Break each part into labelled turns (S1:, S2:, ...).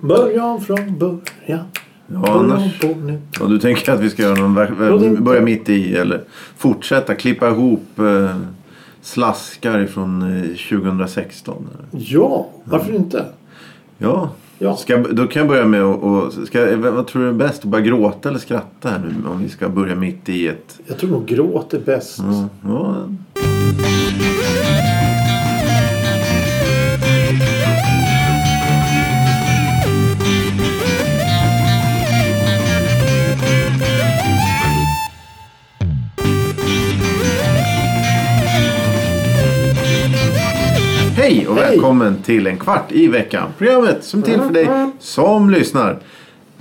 S1: Början från början.
S2: Ja, annars-
S1: Början på nu.
S2: Och du tänker att vi ska göra någon
S1: Ja, det-
S2: ver- börja mitt i eller fortsätta klippa ihop eh, slaskar från eh, 2016? eller?
S1: Ja, varför inte?
S2: Ja.
S1: Ja.
S2: Ska, jag b- då kan jag börja med att... Och, ska, jag- vad tror du är bäst? Bara gråta eller skratta här nu? Om vi ska börja mitt i ett...
S1: Jag tror nog gråt är bäst.
S2: Ja, ja. Hej och
S1: Hej.
S2: välkommen till en kvart i veckan. Programmet som är till för dig som lyssnar.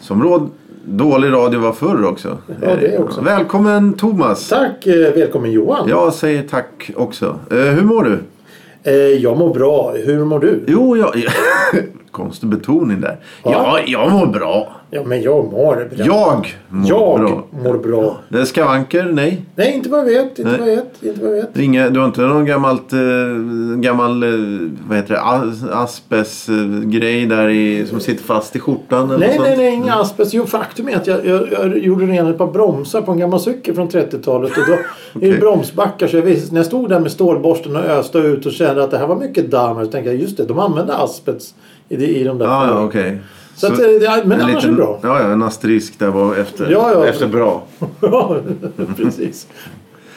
S2: Som råd, dålig radio var förr också.
S1: Ja, det också.
S2: Välkommen Thomas.
S1: Tack, eh, välkommen Johan.
S2: Jag säger tack också. Eh, hur mår du?
S1: Eh, jag mår bra. Hur mår du?
S2: Jo, jag... Konstig betoning där. Ja, jag mår bra.
S1: Ja, men jag mår bra.
S2: Jag mår
S1: jag
S2: bra.
S1: mår bra.
S2: Det är skavanker? Nej.
S1: Nej, inte vad jag vet. Inte
S2: Nej.
S1: vad jag vet. Inte vad jag vet.
S2: Inga, du har inte någon gammalt, eh, gammal eh, vad heter det, as, asbestgrej där i, som sitter fast i skjortan? Eller
S1: Nej,
S2: sånt?
S1: nej, nej, inga asbest. Jo, faktum är att jag, jag, jag gjorde ren ett par bromsar på en gammal cykel från 30-talet. Och då är det
S2: Okej.
S1: bromsbackar. Så jag visste, när jag stod där med stålborsten och öste ut och kände att det här var mycket damm. Så tänkte jag, just det, de använde asbest i, de- i de där.
S2: Ja, Ah, ja,
S1: fallen.
S2: okej.
S1: Så att, eh, det- men
S2: en
S1: annars
S2: liten-
S1: är det bra.
S2: Ja, ja, en asterisk där var efter,
S1: Ja, ja.
S2: efter bra.
S1: Ja, precis.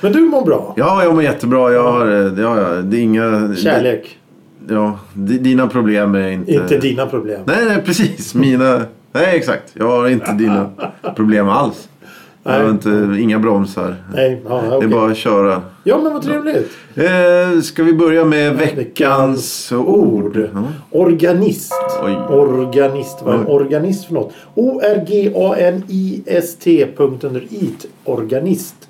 S1: Men du mår bra.
S2: Ja, jag mår jättebra. Jag har, eh, ja, ja, det är inga...
S1: Kärlek.
S2: Ja, di- dina problem är inte...
S1: Inte dina problem.
S2: Nej, nej, precis. Mina... Nej, exakt. Jag har inte dina problem alls. Jag har
S1: Nej.
S2: inte, inga bromsar.
S1: Nej, ja,
S2: Det
S1: okej.
S2: är bara att köra.
S1: ja men vad trevligt.
S2: Eh, ska vi börja med veckans ord? Ja.
S1: Organist.
S2: Oj.
S1: Organist. Vad är en
S2: Oj.
S1: organist för något? O-R-G-A-N-I-S-T. punkt under it. Organist.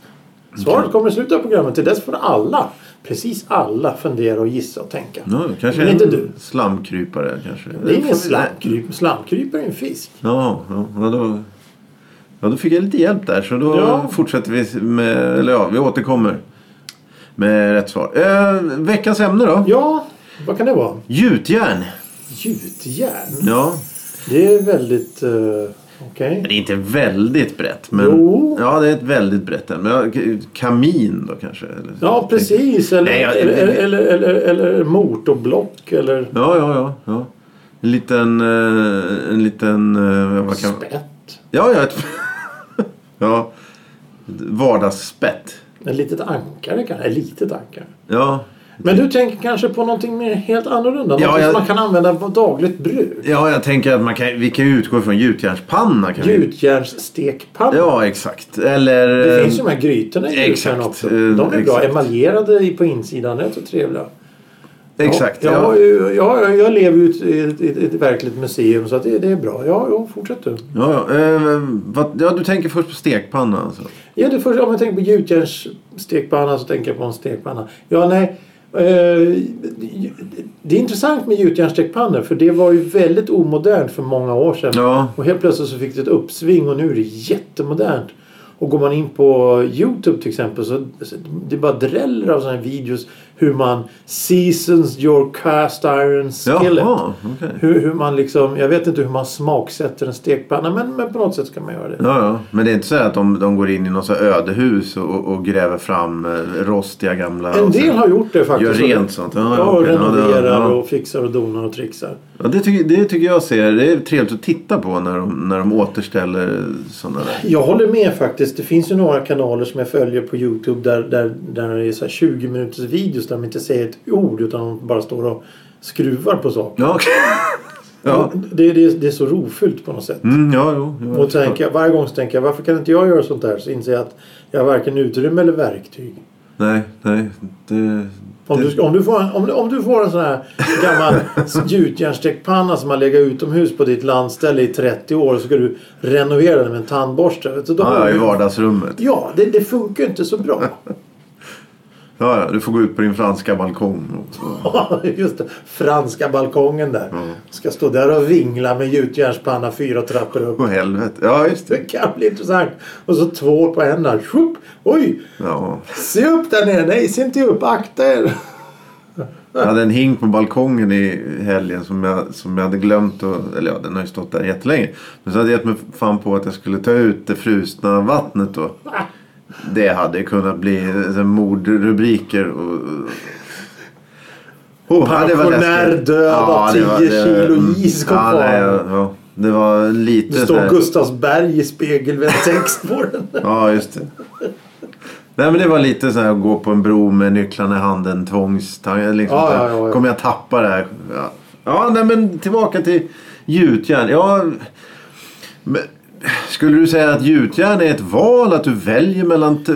S1: Svaret kommer i slutet av programmet. Till dess får alla, precis alla, fundera och gissa och tänka.
S2: Ja, kanske
S1: Men
S2: en
S1: inte du.
S2: slamkrypare. Kanske.
S1: Det är
S2: Får vi-
S1: ingen slamkryp. Slamkryp är en fisk.
S2: Ja, ja, ja, då, ja, då fick jag lite hjälp där. Så då
S1: Ja.
S2: fortsätter vi med... Eller ja, vi återkommer med rätt svar. Eh, veckans ämne då?
S1: Ja, vad kan det vara?
S2: Gjutjärn.
S1: Gjutjärn.
S2: Ja.
S1: Det är väldigt... eh, Okej.
S2: Men Det är inte väldigt brett. Men,
S1: Jo.
S2: Ja, det är ett väldigt brett ämne. Men jag- Kamin då kanske? eller-
S1: Ja, precis. Eller,
S2: Nej, jag-
S1: eller, eller, eller, eller motorblock eller
S2: Ja, ja, ja. ja. En liten... eh, En liten... eh, Vad kan...
S1: spett.
S2: Ja, ja. Ett... ja. Vardagsspett.
S1: Ett litet ankare kanske. Ett litet ankare.
S2: Ja.
S1: Men du tänker kanske på någonting mer helt annorlunda?
S2: Mm. Ja,
S1: Någonting
S2: jag-
S1: som man kan använda på dagligt bruk?
S2: ja, jag tänker att man kan, vi kan ju utgå från gjutjärnspanna. Kan vi?
S1: Gjutjärnsstekpanna.
S2: Ja, exakt. Eller...
S1: Det
S2: eh,
S1: finns ju de här grytorna i
S2: exakt,
S1: gjutjärn också.
S2: eh,
S1: De är bra
S2: exakt.
S1: emaljerade i- på insidan. Det är så trevliga.
S2: Exakt.
S1: Ja, jag,
S2: Ja,
S1: har ju- jag, har- jag lever ju i ett, i ett, i ett verkligt museum så att det, det är bra. Ja, ja fortsätt du.
S2: ja, ja. Eh, vad, ja, du tänker först på stekpanna alltså?
S1: Ja, det första, om jag tänker på gjutjärnsstekpanna så tänker jag på en stekpanna. Ja, nej. eh, Det är intressant med gjutjärnsstekpannor för det var ju väldigt omodernt för många år sedan.
S2: Ja.
S1: Och helt plötsligt så fick det ett uppsving och nu är det jättemodernt. Och går man in på Youtube till exempel så så det bara dräller av sådana här videos hur man seasons your cast iron skillet.
S2: Jaha, okej.
S1: Hur, hur man liksom, jag vet inte hur man smaksätter en stekpanna men, men på något sätt ska man göra det.
S2: Ja, ja. Men det är inte så att de, de går in i något så här ödehus och, och gräver fram eh, rostiga gamla...
S1: En
S2: och sen-
S1: del har gjort det faktiskt.
S2: alltså, Gör rent sånt. Ja,
S1: Ja, och
S2: okej.
S1: renoverar
S2: ja, ja.
S1: och fixar och donar och trixar.
S2: Ja, det, tycker, det tycker jag ser. Det är trevligt att titta på när de, när de återställer sådana där.
S1: Jag håller med faktiskt. Det finns ju några kanaler som jag följer på Youtube där, där, där det är så här 20 minuters videos där de inte säger ett ord utan de bara står och skruvar på saker.
S2: Ja, okej. ja.
S1: Det, det, det är så rofyllt på något sätt.
S2: Mm, ja, jo. jo, jag
S1: Och
S2: förstår.
S1: tänker, jag- varje gång så tänker jag varför kan inte jag göra sånt där? Så inser jag att jag har varken utrymme eller verktyg.
S2: Nej, nej. Det,
S1: Om
S2: det,
S1: du, om, du får en, om, du, om du får en sån här gammal gjutjärnstekpanna som har legat utomhus på ditt landställe i 30 år så ska du renovera den med en tandborste. Vet du, då har
S2: ja, ja,
S1: du-
S2: i vardagsrummet.
S1: ja det, det funkar ju inte så bra.
S2: Ja, ja, du får gå ut på din franska balkong. och- och-
S1: Just det, franska balkongen där. Ska stå där och vingla med gjutjärnspanna fyra trappor upp.
S2: Åh helvete. Ja, just det.
S1: Det kan bli intressant. Och så tvål på händerna. Tjup! Oj!
S2: Ja.
S1: Se upp där nere! Nej, se inte upp! Akta er!
S2: Jag hade en hink på balkongen i helgen som jag, som jag hade glömt. Och, eller ja, den har ju stått där jättelänge. Men så hade jag gett mig fan på att jag skulle ta ut det frusna vattnet då. Det hade ju kunnat bli eh, mordrubriker. Och, och, oh, ja, det var
S1: Pensionär
S2: läskigt.
S1: död av
S2: det var-
S1: 10
S2: det var-
S1: kilo
S2: mm.
S1: is kom
S2: ja,
S1: fram.
S2: nej, ja, ja. Det var lite
S1: Det
S2: så här-
S1: står Gustavsberg i spegelvändstext på den.
S2: Ja, just det. Nej, men det var lite så här att gå på en bro med nycklarna i handen, tvångstanke. Liksom,
S1: Ja,
S2: så här,
S1: ja, ja, ja.
S2: Kommer jag tappa det här? Ja, ja nej, men tillbaka till gjutjärn. Ja, men, skulle du säga att gjutjärn är ett val? Att du väljer mellan te,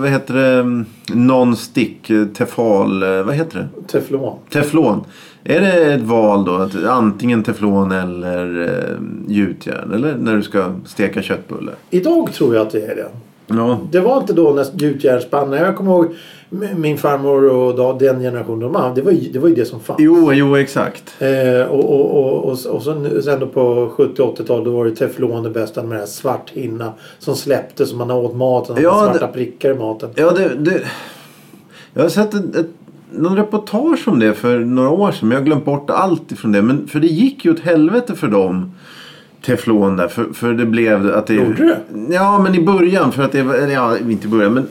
S2: vad heter det, non-stick, eh, tefal, eh, vad heter det?
S1: Teflon.
S2: Teflon. Är det ett val då? Att antingen teflon eller eh, gjutjärn? Eller när du ska steka köttbullar?
S1: Idag tror jag att det är det.
S2: Ja.
S1: Det var inte då när gjutjärnsspannar. Jag kommer ihåg m- min farmor och då, den generationen de hade. Det var, ju- det var ju det som fanns.
S2: Jo, jo exakt.
S1: Eh, och, och, och, och, och sen, sen då på 70 80-talet då var det teflon det bästa med den här svart hinna som släppte så man åt maten.
S2: Ja,
S1: Ja, svarta
S2: det-
S1: prickar i maten.
S2: Ja, det, det... Jag har sett ett, ett, någon reportage om det för några år sedan. Men jag har glömt bort allt ifrån det. Men, för det gick ju åt helvete för dem. Teflon där. För, för det blev att det...
S1: Gjorde det?
S2: Ja, men i början. För att det var... eller Ja, inte i början. Men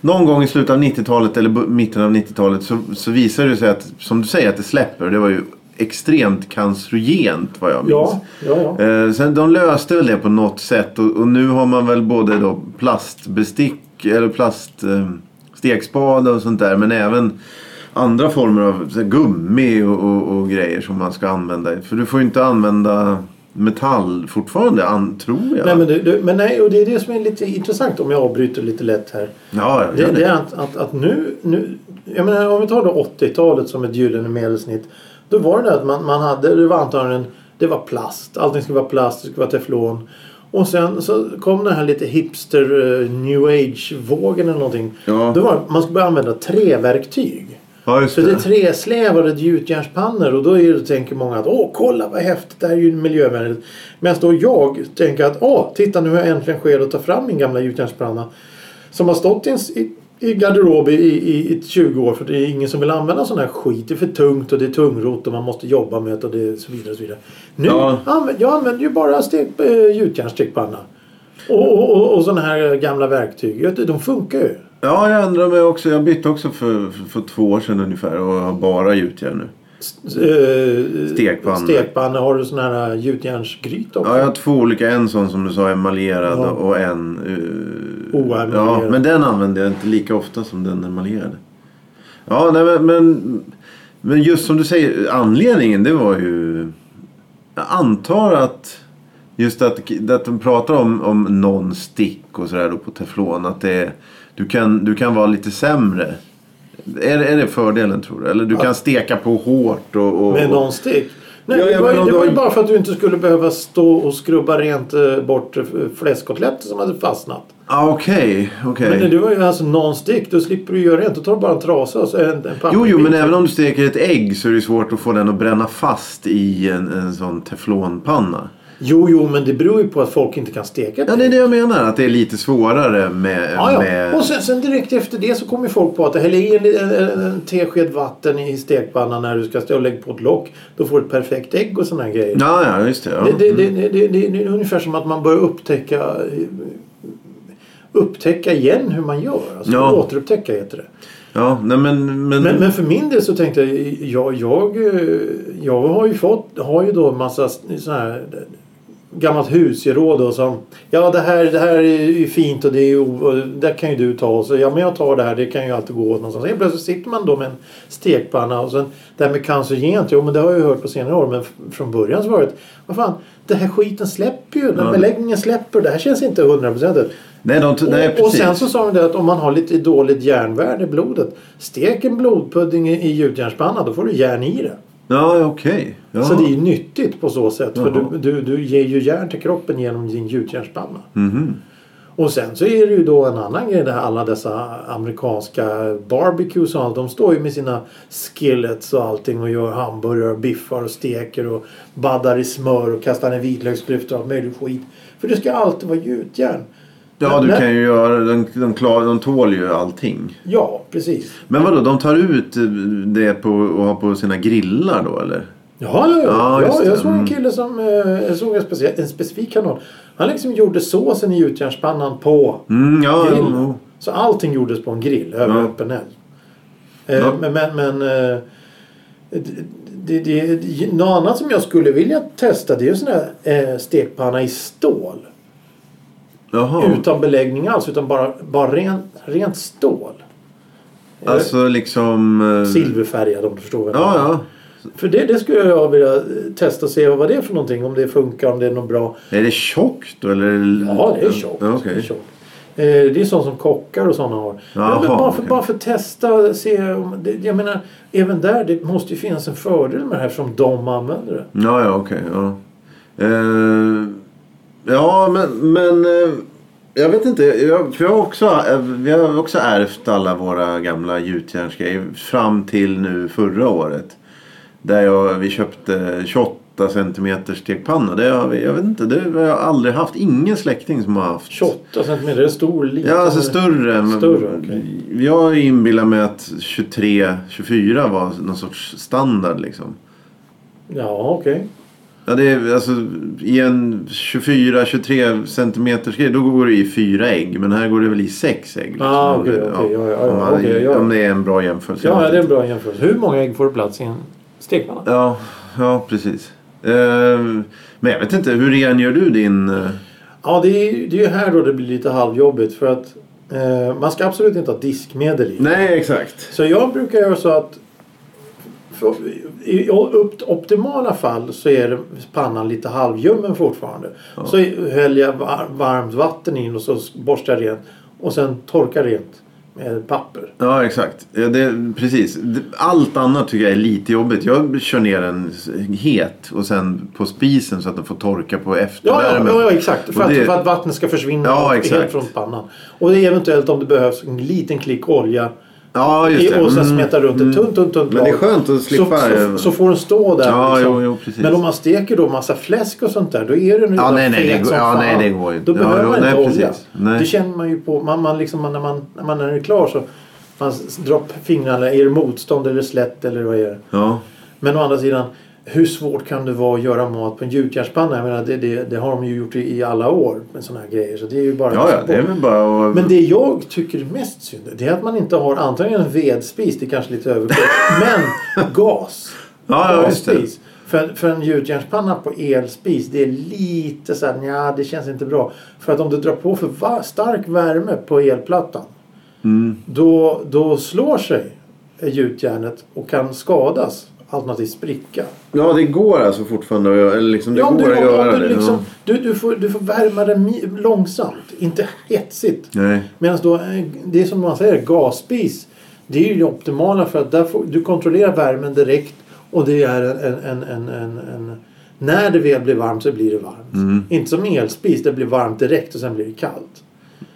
S2: någon gång i slutet av 90-talet eller bu- mitten av 90-talet så, så visade det sig att, som du säger, att det släpper. Det var ju extremt cancerogent vad jag minns.
S1: Ja, ja, ja.
S2: Eh, sen de löste väl det på något sätt och, och nu har man väl både då plastbestick eller plast eh, stekspade och sånt där men även andra former av så här, gummi och, och, och grejer som man ska använda. För du får ju inte använda metall fortfarande an, tror jag.
S1: Nej, men, du, du, men nej, och det är det som är lite intressant om jag avbryter lite lätt här.
S2: ja, jag
S1: Det,
S2: gör
S1: det
S2: det.
S1: är att, att, att nu, nu... Jag menar om vi tar då 80-talet som ett gyllene medelsnitt. Då var det där att man, man hade, det var antagligen, det var plast. Allting skulle vara plast, det skulle vara teflon. Och sen så kom den här lite hipster eh, new age-vågen eller någonting.
S2: Ja.
S1: Då var det, att man skulle börja använda träverktyg.
S2: ja, just
S1: Så det är
S2: det.
S1: träslävade gjutjärnspannor och då är det, tänker många att åh kolla vad häftigt, det här är ju miljövänligt. Medan då jag tänker att åh titta nu har jag äntligen skäl att ta fram min gamla gjutjärnspanna. Som har stått i, en s- i, i garderob i, i, i 20 år för det är ingen som vill använda sån här skit. Det är för tungt och det är tungrot och man måste jobba med det och det, så vidare. Och så vidare. Nu
S2: Ja.
S1: använder jag använder ju bara stek, eh, gjutjärnsstekpanna. Och, och, och, och såna här gamla verktyg. Jag vet inte, De funkar ju.
S2: Ja, jag ändrar mig också. Jag bytte också för, för, för två år sedan ungefär och har bara gjutjärn nu.
S1: Eh,
S2: Stekpanna.
S1: Stekpanna. Har du sån här gjutjärnsgryta också?
S2: Ja, jag har två olika. En sån som du sa emaljerad
S1: Ja.
S2: och en... eh,
S1: Oemaljerad.
S2: ja, men den använder jag inte lika ofta som den emaljerade. Ja, nej, men, men, men just som du säger, anledningen det var ju... Jag antar att just att, att de pratar om, om non-stick och sådär då på teflon. Att det är, du, kan, du kan vara lite sämre. Är, det- är det fördelen tror du? Eller du kan steka på hårt och... och
S1: Med nonstick? Nej,
S2: Ja, ja,
S1: det var, ju-
S2: men om
S1: det
S2: du
S1: var ju
S2: har-
S1: bara för att du inte skulle behöva stå och skrubba rent eh, bort eh, fläskkotletter som hade fastnat.
S2: Ah, Okej, okej.
S1: Men det var ju alltså nonstick. Då slipper du göra rent. Då tar du bara en trasa och så en, en pappersbit.
S2: Jo, jo, men även om du steker ett ägg så är det svårt att få den att bränna fast i en, en sån teflonpanna.
S1: Jo, jo, men det beror ju på att folk inte kan steka.
S2: Ja, det är det jag menar. Att det är lite svårare med...
S1: Ja,
S2: med...
S1: ja. Och sen, sen direkt efter det så kommer ju folk på att häll i en, en, en, en tesked vatten i stekpannan när du ska stå och lägga på ett lock. Då får du ett perfekt ägg och sådana grejer.
S2: ja, ja, just det. Ja. Mm.
S1: Det, det, det, det, det, det är ungefär som att man börjar upptäcka upptäcka igen hur man gör. Alltså,
S2: Ja.
S1: Återupptäcka heter det.
S2: ja nej, men... men...
S1: Men, men för min del så tänkte jag, jag, jag, eh, jag har ju fått, har ju då en massa sådana här gammalt husgeråd och som ja det här, det här är ju fint och det är ju, och där kan ju du ta och så ja men jag tar det här, det kan ju alltid gå åt någonstans. Helt plötsligt sitter man då med en stekpanna och sen det här med cancerogent, jo men det har jag ju hört på senare år men f- från början så var det att, vad fan, den här skiten släpper ju, den här
S2: Ja.
S1: beläggningen släpper, det här känns inte hundraprocentigt.
S2: Nej, de, nej,
S1: Och,
S2: precis.
S1: och sen så sa de det att om man har lite dåligt järnvärde i blodet. Stek en blodpudding i i gjutjärnspanna då får du järn i det.
S2: Ja, ja, okej. Ja.
S1: Så det är ju nyttigt på så sätt. För
S2: Jaha.
S1: du, du, du ger ju järn till kroppen genom din gjutjärnspanna.
S2: Mhm.
S1: Och sen så är det ju då en annan grej där alla dessa amerikanska barbecues och allt. De står ju med sina skillets och allting och gör hamburgare och biffar och steker och baddar i smör och kastar en vitlöksklyfta och allt möjligt skit. För det ska alltid vara gjutjärn.
S2: Ja, du
S1: Men-
S2: kan ju göra... De, de, klar, de tål ju allting.
S1: Ja, precis.
S2: Men vadå, de tar ut eh, det på, och har på sina grillar då eller?
S1: Ja, ja,
S2: Ja,
S1: ja.
S2: just
S1: ja
S2: det.
S1: jag såg
S2: Mm.
S1: en kille som... eh, Jag såg en, specie- en specifik kanal. Han liksom gjorde såsen i gjutjärnspannan på
S2: Mm, ja,
S1: grill.
S2: jo.
S1: Så allting gjordes på en grill över
S2: Ja.
S1: öppen eld. Eh,
S2: Ja.
S1: Men, men, men eh, det, det, det, det, något annat som jag skulle vilja testa det är ju sån här eh, stekpanna i stål.
S2: Jaha.
S1: Utan beläggning alls utan bara, bara ren, rent stål. Eh,
S2: Alltså liksom... eh,
S1: Silverfärgad om du förstår vad jag
S2: Ja,
S1: menar.
S2: ja.
S1: För det, det skulle jag vilja eh, testa och se vad det är för någonting. Om det funkar, om det är något bra.
S2: Är det tjockt då, eller?
S1: Ja, det är tjockt.
S2: Ja,
S1: Det är
S2: okej.
S1: tjockt. Eh, Det är sånt som kockar och sådana har.
S2: Jaha,
S1: men bara, för,
S2: okej.
S1: bara för att testa. Se om, det, jag menar, även där det måste ju finnas en fördel med det här som de använder det.
S2: Ja, ja, okej. ja. Eh, ja, men... men eh, jag vet inte. Jag, för jag har också, eh, vi har också ärvt alla våra gamla gjutjärnsgrejer fram till nu förra året. Där jag, vi köpte 28 centimeter stekpanna. Det har vi, jag vet inte, det har jag aldrig haft. Ingen släkting som har haft.
S1: 28 centimeter, det är stor liten.
S2: Ja, alltså större. men-
S1: Större, okej.
S2: Jag inbillar mig att 23-24 var någon sorts standard liksom.
S1: Ja, okej.
S2: Ja, det är alltså i en 24-23 centimeters grej, då går det i fyra ägg. Men här går det väl i sex ägg. Liksom.
S1: Ah, okej,
S2: Ja,
S1: okej, ja, ja, ja,
S2: om, man,
S1: okej, ja.
S2: om det är en bra jämförelse.
S1: Ja, ja, det är en bra jämförelse. Hur många ägg får det plats i en stekpanna?
S2: ja, ja, precis. Ehm, men jag vet inte, hur ren gör du din... eh,
S1: Ja, det är, ju- det är ju här då det blir lite halvjobbigt. För att eh, man ska absolut inte ha diskmedel i.
S2: Nej, exakt.
S1: Så jag brukar göra så att för, i upp, optimala fall så är det pannan lite halvljummen fortfarande. Så häller jag var, varmt vatten in och så borstar jag rent. Och sen torkar rent med papper.
S2: Ja, exakt. Ja, det, precis. Det- Allt annat tycker jag är lite jobbigt. Jag kör ner den s- het och sen på spisen så att den får torka på
S1: Ja, ja,
S2: eftervärmen.
S1: ja, ja exakt. För
S2: Och
S1: att,
S2: det-
S1: för att vattnet ska försvinna
S2: Ja,
S1: helt
S2: exakt.
S1: från pannan. Och det är eventuellt om det behövs en liten klick olja.
S2: ja, just
S1: I,
S2: det.
S1: och sen
S2: Mm.
S1: smeta runt ett tunt, tunt, tunt
S2: Men det är
S1: lag.
S2: skönt att slippa-
S1: Så, så, så får den stå där. liksom.
S2: Ja, jo, jo, precis.
S1: Men om man steker då massa fläsk och sånt där, då är den redan
S2: nej, nej,
S1: fet
S2: det går-
S1: som
S2: ja,
S1: fan.
S2: nej, det går ju inte.
S1: Då
S2: Ja,
S1: behöver
S2: jo,
S1: man inte
S2: nej,
S1: olja.
S2: precis. Nej.
S1: Det känner man ju på, man, man liksom, när, man, när man är klar så man s- drar upp fingrarna, är det motstånd eller slätt eller vad är det?
S2: Ja.
S1: Men å andra sidan, hur svårt kan det vara att göra mat på en gjutjärnspanna? Jag menar, det, det, det har de ju gjort i, i alla år med sådana här grejer. Så det är ju bara
S2: Ja, ja, det är väl bara att...
S1: men det jag tycker är mest synd det är att man inte har antingen en vedspis, det är kanske lite överkort, men gas.
S2: Ja, ja, just det.
S1: Gasspis. För, för en gjutjärnspanna på elspis, det är lite så här, nja, det känns inte bra. För att om du drar på för va- stark värme på elplattan,
S2: Mm.
S1: då, då slår sig gjutjärnet och kan skadas, alternativt spricka.
S2: Ja, det går alltså fortfarande att göra, eller liksom, det
S1: Ja, om
S2: går
S1: du,
S2: att
S1: om,
S2: göra
S1: om du,
S2: det.
S1: liksom, du, du, får, du får värma det mi- långsamt, inte hetsigt.
S2: ja. Nej.
S1: Medan då, eh, det är som man säger, gasspis. Det är ju det optimala för att där får, du kontrollerar värmen direkt och det är en, en, en, en, en, en när det väl blir varmt så blir det varmt.
S2: Mm.
S1: Inte som elspis, det blir varmt direkt och sen blir det kallt.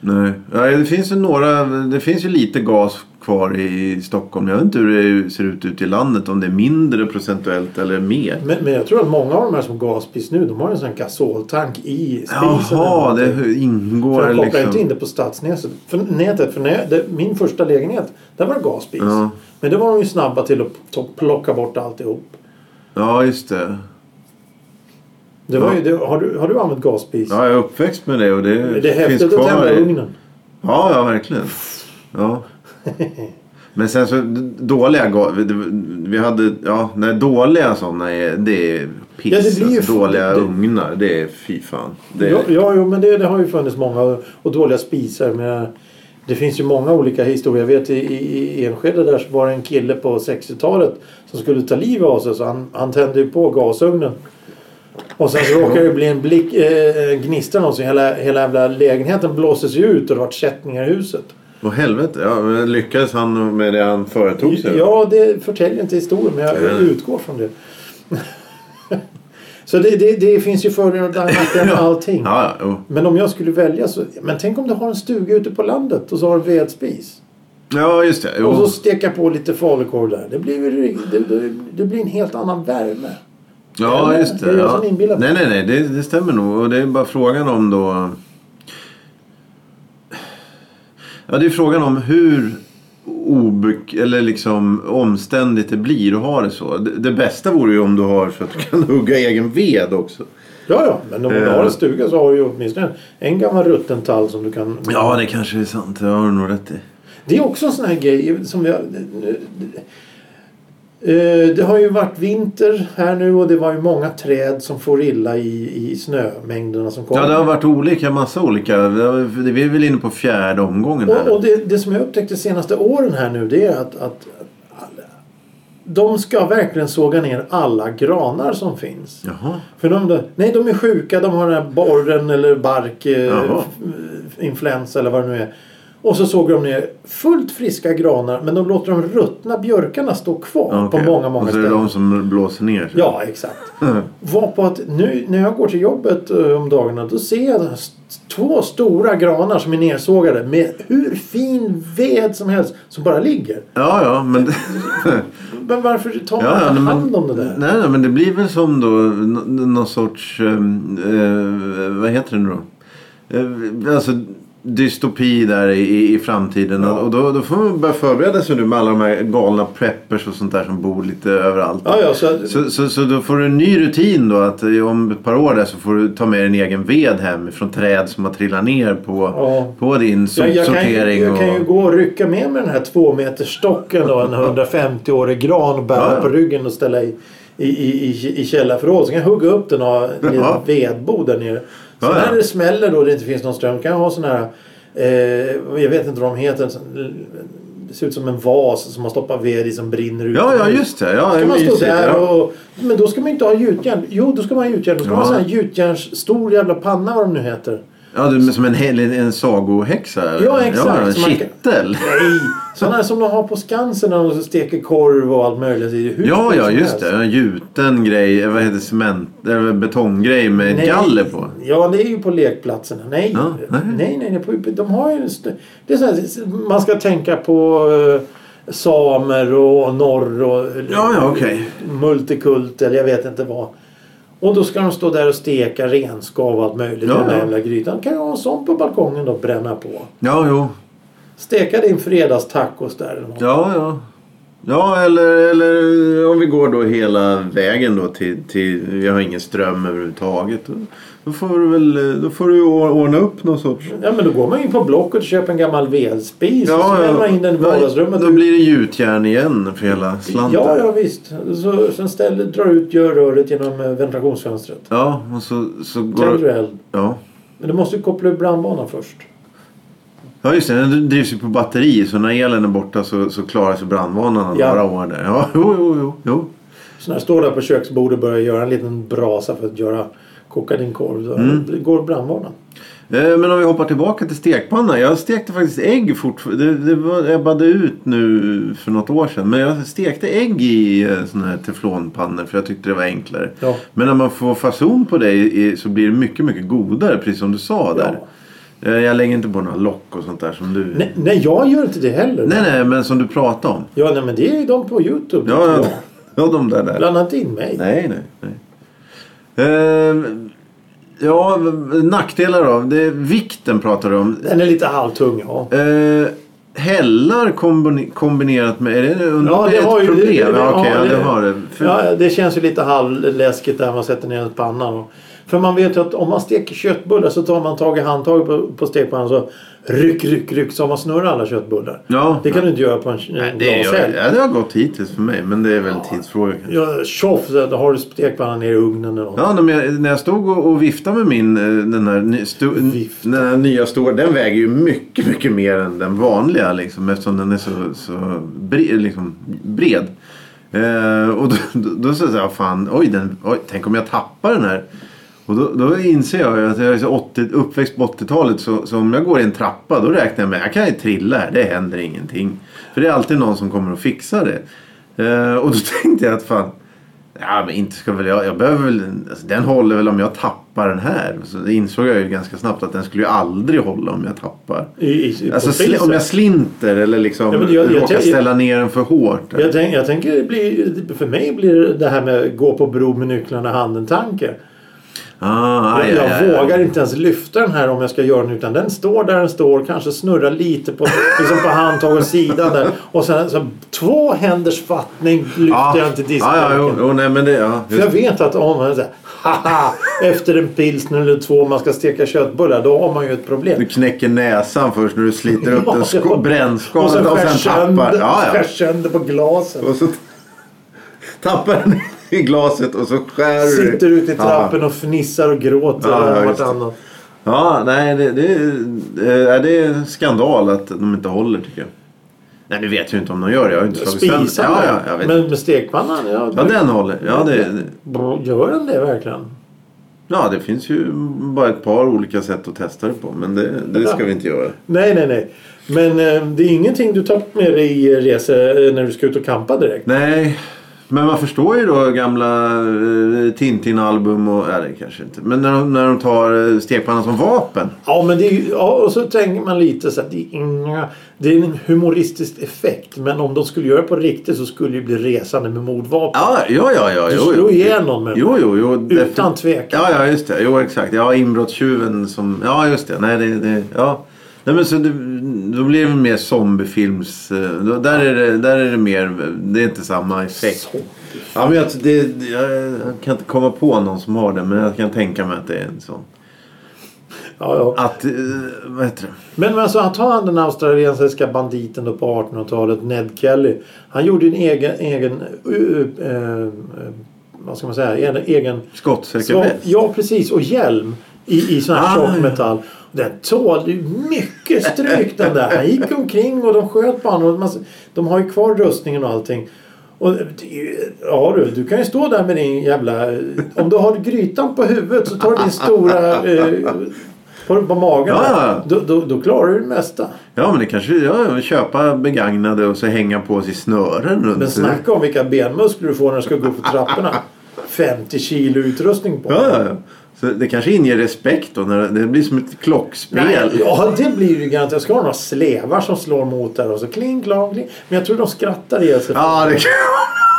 S2: Nej. Ja, det finns ju några, det finns ju lite gas kvar i Stockholm. Jag vet inte hur det ser ut ute i landet. Om det är mindre procentuellt eller mer.
S1: Men, men jag tror att många av de här som gaspis nu, de har ju en sån här gasoltank i spisen.
S2: Jaha,
S1: eller någonting.
S2: det ingår
S1: För jag kopplar
S2: liksom.
S1: inte in det på stadsnätet. För nätet, för när jag, det, min första lägenhet, där var det gaspis.
S2: Ja.
S1: Men det var de ju snabba till att to- plocka bort alltihop.
S2: Ja, just det.
S1: Det var
S2: Ja.
S1: ju, det, har, du, har du använt gaspis?
S2: Ja, jag är uppväxt med det och det,
S1: Det är
S2: finns
S1: häftigt att
S2: kvar.
S1: tända
S2: i-
S1: ugnen.
S2: Ja, ja, verkligen. Ja. Men sen så dåliga ga- Vi hade, ja, nej, dåliga sådana är, det är piss.
S1: Ja, det blir ju-
S2: alltså, dåliga
S1: det-
S2: ugnar, det är fy fan. Det,
S1: Ja, ja, jo, men det, det har ju funnits många och dåliga spisar. Men eh, det finns ju många olika historier. Jag vet i, i, i Enskede där så var det en kille på 60-talet som skulle ta livet av sig så han, han tände ju på gasugnen. Och sen så råkade det bli en blick, eh, gnista någonsin. Hela, hela jävla lägenheten blåstes ju ut och det vart kättningar i huset.
S2: Åh helvete, ja, men lyckades han med det han företog sig?
S1: Ja, det förtäljer inte historien men jag
S2: Mm.
S1: utgår från det. så det, det, det finns ju fördelar och nackdelar med allting.
S2: Ja, ja, jo.
S1: Men om jag skulle välja så... Men tänk om du har en stuga ute på landet och så har du vedspis.
S2: ja just det. Jo.
S1: Och så steka på lite falukorv där. Det blir, ju- det, det, det blir en helt annan värme.
S2: ja,
S1: Eller?
S2: just det.
S1: Det är jag
S2: ja.
S1: som inbillar mig.
S2: Nej, nej, nej, det, det stämmer nog. Och det är bara frågan om då... Ja, det är frågan om hur obek eller liksom omständigt det blir att ha det så. Det, det bästa vore ju om du har så att du kan hugga egen ved också.
S1: Ja, ja. Men om du
S2: Eh.
S1: har en stuga så har du ju åtminstone en gammal rutten tall som du kan...
S2: Ja, det kanske är sant. Det har du nog rätt i.
S1: Det är också en sån här grej som vi har... Eh, Det har ju varit vinter här nu och det var ju många träd som får illa i, i snömängderna som kommer.
S2: Ja, det har varit olika, massa olika. Vi har- vi är väl inne på fjärde omgången här.
S1: Och, och det, det som jag upptäckte de senaste åren här nu det är att, att alla- de ska verkligen såga ner alla granar som finns.
S2: Jaha.
S1: För de, där- nej, de är sjuka, de har den här borren eller bark, eh,
S2: Jaha.
S1: f- influensa eller vad det nu är. Och så såg de ner fullt friska granar men de låter de ruttna björkarna stå kvar
S2: Ja, okej.
S1: på många, många
S2: Och så är det
S1: ställen.
S2: de som blåser ner. sig.
S1: Ja, exakt. Var på att nu när jag går till jobbet eh, om dagarna då ser jag st- två stora granar som är nedsågade med hur fin ved som helst som bara ligger.
S2: Ja, ja, men...
S1: Men varför tar man
S2: Ja, ja,
S1: inte
S2: men-
S1: hand om det där?
S2: Nej, nej, men det blir väl som då nå- någon sorts, ehm, eh, vad heter det nu då? Eh, alltså dystopi där i- i, i framtiden.
S1: Ja.
S2: Och då, då får man börja förbereda sig nu med alla de här galna preppers och sånt där som bor lite överallt.
S1: Ja, ja, så, att-
S2: Så, så, så då får du en ny rutin då att eh, om ett par år där så får du ta med din egen ved hem från träd som har trillat ner på,
S1: Ja.
S2: på din
S1: jag, jag, kan, ju-
S2: sopsortering.
S1: jag kan ju
S2: och...
S1: gå och rycka med mig den här två meter stocken och en 150-årig gran och bära
S2: Ja, ja.
S1: på ryggen och ställa i, i, i, i, i källarförråd. Så kan jag hugga upp den och ha en liten
S2: Ja.
S1: vedbod där nere. Så
S2: Ja, ja.
S1: när det smäller då och det inte finns någon ström kan jag ha sån här, eh, jag vet inte vad de heter, sån- det ser ut som en vas som man stoppar ved i som brinner ut.
S2: Ja, ja, just det. Ja, det
S1: Ska
S2: är
S1: man stå
S2: mysigt,
S1: där
S2: ja.
S1: och, men då ska man ju inte ha gjutjärn. Jo, då ska man ha gjutjärn. Då ska man ha
S2: Ja.
S1: sån här gjutjärns, stor jävla panna vad de nu heter.
S2: Ja, du, men som en, hel- en sagohäxa? eller?
S1: Ja, exakt,
S2: Ja, en
S1: som man kan-
S2: kittel.
S1: Nej, sådana som de har på Skansen när de steker korv och allt möjligt i hur
S2: Ja,
S1: fint
S2: ja,
S1: som
S2: just
S1: helst.
S2: det. En gjuten grej. eh, Vad heter cement? eh, Betonggrej med
S1: Nej.
S2: galler på.
S1: Ja, det är ju på lekplatserna. Nej,
S2: Ja,
S1: nej,
S2: nej.
S1: nej. nej, på, de har ju... en st- Det är så här, man ska tänka på eh, samer och norr och eh,
S2: Ja, ja, okej.
S1: multikult eller jag vet inte vad. Och då ska de stå där och steka renskav och allt möjligt
S2: Ja,
S1: i den där
S2: ja.
S1: jävla grytan. Kan jag ha en sån på balkongen då och bränna på?
S2: Ja, jo.
S1: Steka din fredagstacos där. Eller något.
S2: Ja, ja. Ja, eller, eller om vi går då hela vägen då till... till vi har ingen ström överhuvudtaget. Då, då får du väl... eh, Då får du ju or- ordna upp någon sorts...
S1: Ja men då går man ju på Blocket och köper en gammal vedspis och så häller man in den i
S2: Ja,
S1: vardagsrummet.
S2: Då blir det gjutjärn igen för hela slanten.
S1: Ja, ja visst. Så, sen ställer, drar ut, gör röret genom eh, ventilationsfönstret.
S2: Ja, och så, så går
S1: Tänder du
S2: det...
S1: eld.
S2: Ja.
S1: Men du måste ju koppla ur brandbanan först.
S2: Ja just det, den drivs ju på batteri så när elen är borta så, så klarar sig brandvarnarna
S1: Ja.
S2: några år där. Ja, jo, jo, jo. jo.
S1: Så när jag står där på köksbordet och börjar göra en liten brasa för att göra, koka din korv. Då
S2: Mm.
S1: går brandvarnaren.
S2: Eh, Men om vi hoppar tillbaka till stekpannan. Jag stekte faktiskt ägg fortfarande. Det, det var- ebbade ut nu för något år sedan. Men jag stekte ägg i eh, såna här teflonpannor för jag tyckte det var enklare.
S1: Ja.
S2: Men när man får fason på det i- så blir det mycket, mycket godare precis som du sa där. Eh, Jag lägger inte på några lock och sånt där som du...
S1: Nej, nej, jag gör inte det heller.
S2: nej, nej, men som du pratade om.
S1: Ja, nej men det är ju de på Youtube.
S2: Ja, ja, ja de där där.
S1: Blanda inte in mig.
S2: Nej, nej. nej. Ehm, ja, nackdelar då. Det är vikten pratar du om.
S1: Den är lite halvtung, ja.
S2: Uh, hällar kombine- kombinerat med... Är det, undrar om det är ett problem? ja, okej, ja, det har det. För,
S1: Ja, det känns ju lite halvläskigt där man sätter ner pannan. Och, för man vet ju att om man steker köttbullar så tar man tag i handtaget på, på stekpannan så ryck, ryck, ryck så har man snurrar alla köttbullar.
S2: ja,
S1: Det kan du inte göra på en, en
S2: nej, det,
S1: glashelg.
S2: är, ja, det har gått hittills för mig, men det är väl en tidsfråga. kanske.
S1: Ja, tjoff, så då har du stekpannan ner i ugnen eller något.
S2: Ja, när jag, när jag stod och, och viftade med min, eh, den här, ny, sto,
S1: Vifta.
S2: den här nya stora, den väger ju mycket, mycket mer än den vanliga liksom, eftersom den är så, så bre, liksom, bred. Eh, och då, då, då sa jag, fan, oj, den, oj, tänk om jag tappar den här. Och då, då inser jag ju att jag är så 80, uppväxt på 80-talet så, så om jag går i en trappa då räknar jag med jag kan ju trilla här, det händer ingenting. För det är alltid någon som kommer att fixa det. Eh, och då tänkte jag att fan, Ja, men inte ska väl jag. jag behöver väl, alltså, den håller väl om jag tappar den här. Så det insåg jag ju ganska snabbt att den skulle ju aldrig hålla om jag tappar.
S1: I, i, i,
S2: Alltså
S1: på
S2: sli,
S1: spisen.
S2: om jag slinter eller liksom
S1: Ja, men jag- jag
S2: råkar
S1: tänker-
S2: ställa ner den för hårt.
S1: Jag, tänk, jag tänker, det blir, för mig blir det här med gå på bro med nycklarna i handen tanke.
S2: Ah, aj,
S1: jag
S2: aj, aj, aj.
S1: vågar inte ens lyfta den här om jag ska göra den utan den står där den står kanske snurrar lite på, liksom på handtag och sidan där. Och sen så, två händers fattning lyfter
S2: Ja.
S1: jag inte
S2: Ja, ja, jo,
S1: diskbänken.
S2: jo, nej, men det... Ja,
S1: För jag
S2: just,
S1: vet att om man säger haha efter en pilsner eller två man ska steka köttbullar då har man ju ett problem.
S2: du knäcker näsan först när du sliter upp den
S1: det var-
S2: sko- brännskadan
S1: och sen,
S2: och
S1: skär
S2: sen tappar.
S1: sönder-
S2: Ja, ja.
S1: skär sönder på glasen.
S2: Och så tappar den i glaset och så skär du.
S1: Sitter ute i
S2: Ja.
S1: trappen och fnissar och gråter.
S2: Ja,
S1: eller
S2: ja, just det.
S1: vartannat.
S2: Ja, nej, det, det, är, det är skandal att de inte håller tycker jag. Nej, det vet jag ju inte om de gör. Jag har ju inte slagit sönder.
S1: Spisar
S2: Ja,
S1: man.
S2: ja, jag vet.
S1: Men med stekpannan? Ja,
S2: ja, den håller. Ja det,
S1: Brr, Gör den det verkligen?
S2: ja, det finns ju bara ett par olika sätt att testa det på. Men det, det ska vi inte göra.
S1: Nej, nej, nej. Men eh, det är ingenting du tar med dig i resor eh, när du ska ut och campa direkt?
S2: Nej, men man förstår ju då gamla eh, Tintin-album och... Nej, det kanske inte. Men när de, när de tar eh, stekpannan som vapen.
S1: Ja, men det är ju, ja, och så tänker man lite så att det är, inga, det är en humoristisk effekt. Men om de skulle göra det på riktigt så skulle det ju bli resande med mordvapen.
S2: Ja, ja, ja. ja
S1: Du
S2: jo,
S1: slår
S2: jo.
S1: ihjäl någon med
S2: Jo, jo, jo.
S1: Utan
S2: definitivt.
S1: tvekan.
S2: Ja, ja, just det. Jo, exakt. Ja, inbrottstjuven som... Ja, just det. Nej, det... det ja. Nej, men så det, då blir det mer zombiefilms... eh, då- Där är, det, där är det mer... Det är inte samma effekt.
S1: Så.
S2: Ja, men jag, det, det- jag, jag kan inte komma på någon som har det, men jag kan tänka mig att det är en sån.
S1: Ja, ja.
S2: Att... eh, Vad heter det?
S1: Men, men alltså, ta han den australiensiska banditen då på 1800-talet, Ned Kelly. Han gjorde en egen, egen eh, eh, vad ska man säga, en egen...
S2: Skottsäker
S1: Sva-
S2: väst?
S1: ja, precis. Och hjälm i, i sån här
S2: Ah,
S1: tjock metall. Den tålde ju mycket stryk den där. Han gick omkring och de sköt på honom. Och man, de har ju kvar rustningen och allting. Och, det är ju- ja du, du kan ju stå där med din jävla... Om du har grytan på huvudet så tar du din stora... Eh, på, på magen
S2: Ja,
S1: där.
S2: ja.
S1: då, då, då klarar du det mesta.
S2: Ja, men det kanske... Ja, köpa begagnade och så hänga på sig snören runt.
S1: Men snacka om vilka benmuskler du får när du ska gå upp för trapporna. 50 kilo utrustning på.
S2: Ja, ja, ja. Så det kanske inger respekt då. När det det blir som ett klockspel.
S1: Nej, ja, det blir ju garanterat. Jag ska ha några slevar som slår mot där och så kling, klang, kling. Men jag tror de skrattar ihjäl sig.
S2: Ja, det kan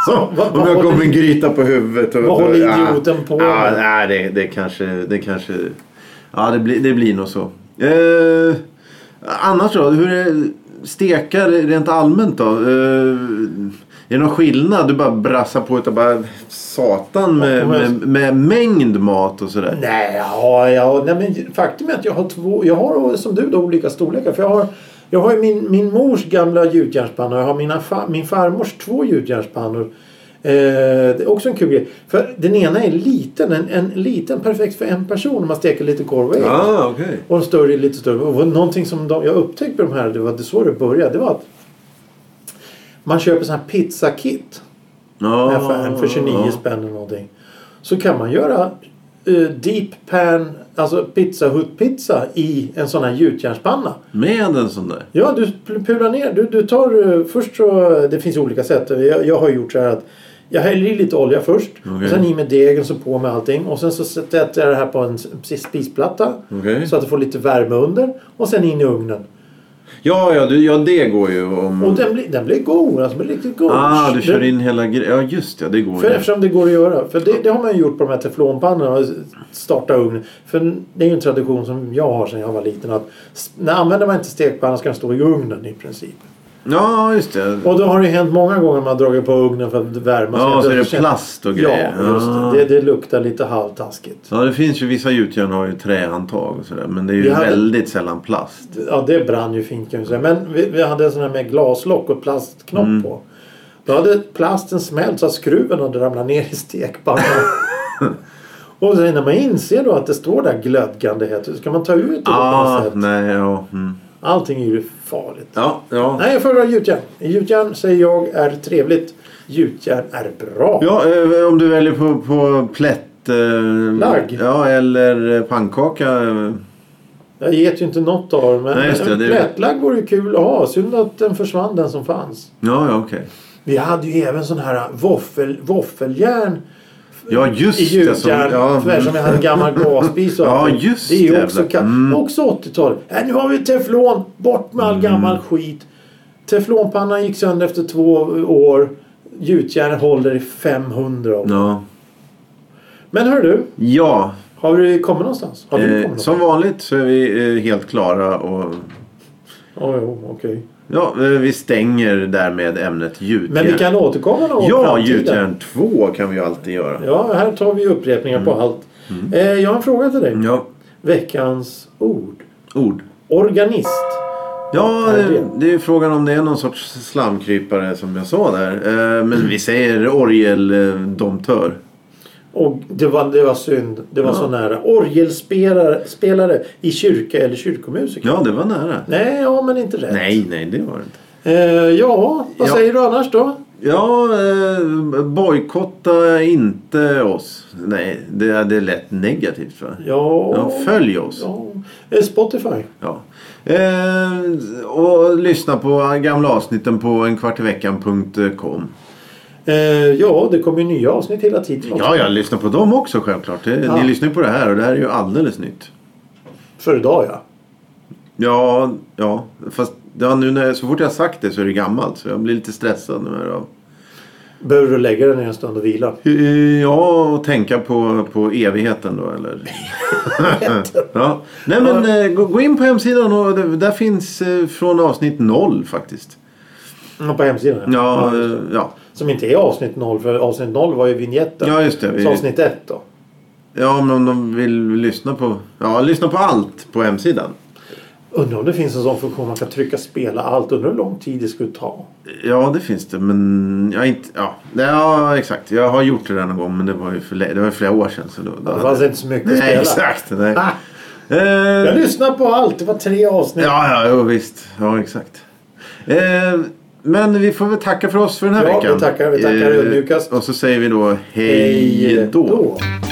S2: så,
S1: vad
S2: Om jag
S1: håller-
S2: kommer en gryta på huvudet. Och,
S1: Vad
S2: och-
S1: håller
S2: ja.
S1: idioten på
S2: Ja,
S1: med?
S2: nej, det, det kanske... Det kanske... Ja, det blir, det blir nog så. Eh, annars då? Hur är stekar rent allmänt då? Eh, är det någon skillnad? Du bara brassar på utav bara satan med,
S1: Om jag-
S2: med, med mängd mat och sådär.
S1: Nej, ja, ja, nej, men faktum är att jag har två, jag har som du då olika storlekar. För jag har, jag har ju min, min mors gamla gjutjärnspanna och jag har mina fa, min farmors två gjutjärnspannor. Eh, det är också en kul grej. För den ena är liten, en, en liten perfekt för en person om man steker lite korv och ägg.
S2: Ah, okej.
S1: Och en större är lite större. Och någonting som de, jag upptäckte med de här, det var det så det började, det var att man köper sån här pizzakit. i
S2: Ah.
S1: affären för 29
S2: ja.
S1: spänn eller någonting. Så kan man göra eh, deep pan, alltså pizza hut pizza i en sån här gjutjärnspanna.
S2: Med en sån där?
S1: Ja, du pl- pular ner. Du, du tar eh, först så, det finns olika sätt. Jag, jag har gjort så här att jag häller i lite olja först.
S2: Okej.
S1: Och sen i med degen så på med allting. Och sen så sätter jag det här på en s- spisplatta.
S2: Okej.
S1: Så att det får lite värme under. Och sen in i ugnen.
S2: Ja, ja, du, ja, det går ju om...
S1: Och den blir, den blir god. Alltså den blir riktigt god.
S2: Mm. Ah, du kör
S1: Den-
S2: in hela grejen. Ja, just det. Det går
S1: För
S2: ju.
S1: eftersom det går att göra. För det, det har man ju gjort på de här teflonpannorna. Starta ugn. För det är ju en tradition som jag har sedan jag var liten. Att s- när använder man inte stekpannan ska den stå i ugnen i princip.
S2: Ja, just det.
S1: Och då har det ju hänt många gånger man har dragit på ugnen för att värma.
S2: Ja,
S1: jag
S2: så är det
S1: känner-
S2: plast och grejer.
S1: Ja, just
S2: Ah.
S1: det. Det, det luktar lite halvtaskigt.
S2: Ja, det finns ju vissa gjutjärn har ju trähandtag och sådär. Men det är ju
S1: Vi hade-
S2: väldigt sällan plast.
S1: Ja, det brann ju fint kan jag säga. Men vi, vi hade en sån här med glaslock och plastknopp
S2: Mm.
S1: på. Då hade plasten smält så att skruven hade ramlat ner i stekpannan. och sen när man inser då att det står där glödgande hett. så Ska man ta ut det på
S2: Ah,
S1: något sätt?
S2: nej, ja. Mm.
S1: Allting är ju farligt.
S2: Ja, ja.
S1: Nej, jag föredrar gjutjärn. Gjutjärn säger jag är trevligt. Gjutjärn är bra.
S2: Ja, eh, om du väljer på, på plätt... Eh,
S1: Lagg.
S2: Ja, eller eh, pannkaka. eh.
S1: Jag äter ju inte något av dem. Men
S2: Nej, just det,
S1: en
S2: det är-
S1: plättlagg vore ju kul att ha. Synd att den försvann den som fanns.
S2: Ja, ja, okej.
S1: Vi hade ju även sån här våffel, våffeljärn.
S2: Ja, just
S1: i
S2: det. Som,
S1: gjutjärn.
S2: ja, mm.
S1: Tvär som jag hade en gammal gasspis och
S2: Ja,
S1: allting.
S2: just
S1: Det är ju
S2: jävlar.
S1: också, ka-
S2: Mm.
S1: också 80-tal. Äh, nu har vi teflon. Bort med all gammal skit. Teflonpannan gick sönder efter två år.
S2: Mm.
S1: Gjutjärn håller i 500 år.
S2: ja.
S1: Men hör du.
S2: ja,
S1: Har vi kommit någonstans? Har vi kommit
S2: Eh,
S1: någonstans?
S2: som vanligt så är vi eh, helt klara och
S1: Ja, jo, okej.
S2: ja, eh, vi stänger därmed ämnet gjutjärn.
S1: Men vi kan återkomma någon gång i
S2: Ja,
S1: framtiden.
S2: gjutjärn 2 kan vi ju alltid göra.
S1: Ja, här tar vi upprepningar
S2: Mm.
S1: på allt. Eh, jag har en fråga till dig.
S2: Ja,
S1: Veckans ord.
S2: ord.
S1: Organist.
S2: Ja,
S1: är
S2: det,
S1: det?
S2: det är ju frågan om det är någon sorts slamkrypare som jag sa där. Eh, Men vi säger orgeldomtör.
S1: Och det var, det var synd. Det var
S2: Ja.
S1: så nära. Orgelspelare spelare i kyrka eller kyrkomusiker.
S2: Ja, det var nära.
S1: Nej, ja men inte rätt.
S2: Nej, nej, det var det inte.
S1: Eh, ja, vad
S2: Ja.
S1: säger du annars då?
S2: Ja, eh, bojkotta inte oss. Nej, det, det lät negativt va?
S1: Ja,
S2: Ja, följ oss.
S1: ja. Eh, Spotify.
S2: Ja. Eh, och lyssna på gamla avsnitten på enkvartiveckan.com.
S1: Eh, ja, det kommer ju nya avsnitt hela tiden. också.
S2: Ja, jag lyssnar på dem också självklart. Det,
S1: Ja.
S2: Ni lyssnar ju på det här och det här är ju alldeles nytt.
S1: För idag ja.
S2: Ja, ja. Fast ja, nu när, så fort jag har sagt det så är det gammalt så jag blir lite stressad nu. Här. av-
S1: Behöver du lägga den en stund och vila?
S2: Eh, Ja, och tänka på, på evigheten då eller? ja. Nej men eh, gå, gå in på hemsidan och det, där finns eh, från avsnitt noll faktiskt.
S1: Ja, På hemsidan
S2: Ja, eh, ja.
S1: Som inte är avsnitt 0 för avsnitt 0 var ju vignetten.
S2: ja just det. Vi-
S1: Så avsnitt 1 då.
S2: Ja, men om de vill lyssna på... Ja, lyssna på allt på hemsidan.
S1: Undrar om det finns en sån funktion man kan trycka spela allt. Undrar hur lång tid det skulle ta.
S2: Ja, det finns det, men jag har inte... Ja, Nej, ja exakt. Jag har gjort det där någon gång, men det var ju för, lä- det var ju flera år sedan. Så då, då
S1: Det fanns inte så mycket att
S2: Nej,
S1: spela.
S2: exakt. Nej.
S1: Ah,
S2: Eh,
S1: jag lyssnar på allt. Det var tre avsnitt.
S2: ja, ja, jo, visst. Ja, exakt. Eh, men vi får väl tacka för oss för den här
S1: Ja, vi
S2: veckan. Eh,
S1: tackar, vi tackar ödmjukast.
S2: Och så säger vi då hej,
S1: Hej
S2: då.
S1: då.